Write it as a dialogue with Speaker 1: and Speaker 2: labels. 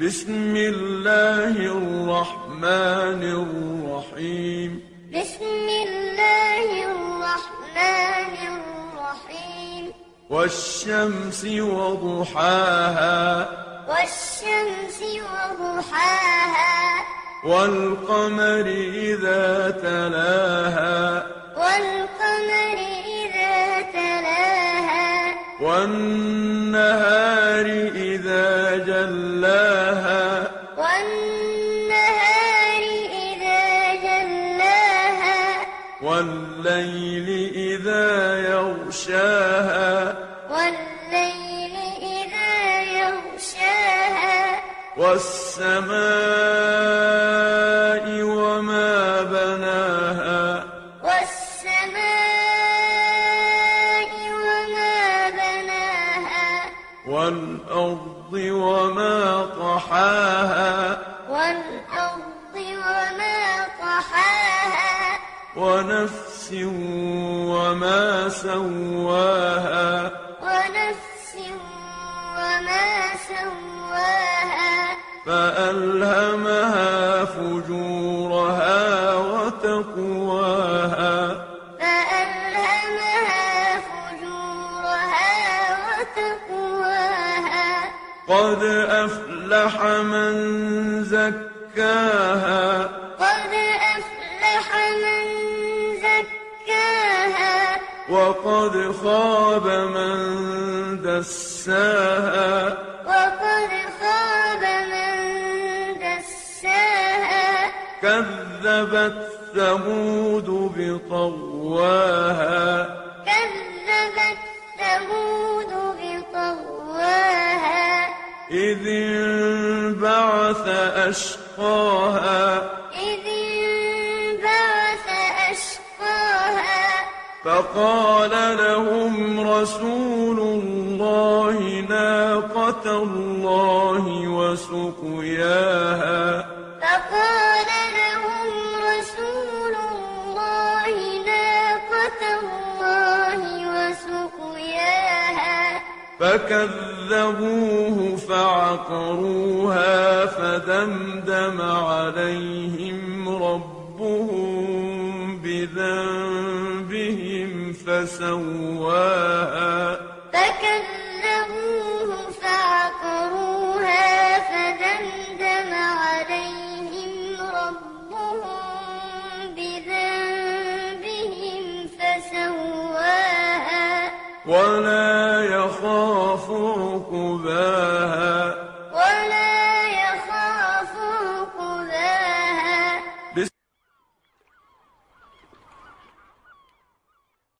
Speaker 1: بسم الله الرحمن الرحيم
Speaker 2: بسم الله الرحمن الرحيم
Speaker 1: والشمس وضحاها
Speaker 2: والشمس وضحاها
Speaker 1: والقمر إذا تلاها
Speaker 2: والقمر إذا تلاها
Speaker 1: والنهار إذا جلاها
Speaker 2: والنهار إذا جلاها
Speaker 1: والليل إذا يغشاها
Speaker 2: والليل إذا يغشاها
Speaker 1: والسماء وما بناها
Speaker 2: والسماء وما بناها
Speaker 1: والأرض وما طحاها
Speaker 2: والأرض وما طحاها
Speaker 1: ونفس وما سواها
Speaker 2: ونفس وما سواها فألهمها
Speaker 1: فجورها وتقواها
Speaker 2: فألهمها فجورها وتقواها
Speaker 1: قد أفلح من زكاها
Speaker 2: قد أفلح من زكاها
Speaker 1: وقد خاب من دساها
Speaker 2: وقد خاب من دساها
Speaker 1: كذبت ثمود بطغواها
Speaker 2: كذبت ثمود بطغواها
Speaker 1: إذ انبعث أشقاها
Speaker 2: إذ انبعث أشقاها
Speaker 1: فقال لهم رسول الله ناقة الله وسقياها
Speaker 2: فقال لهم رسول الله ناقة الله وسقياها
Speaker 1: فكذبوه فعقروها فدمدم عليهم ربهم بذنبهم فسواها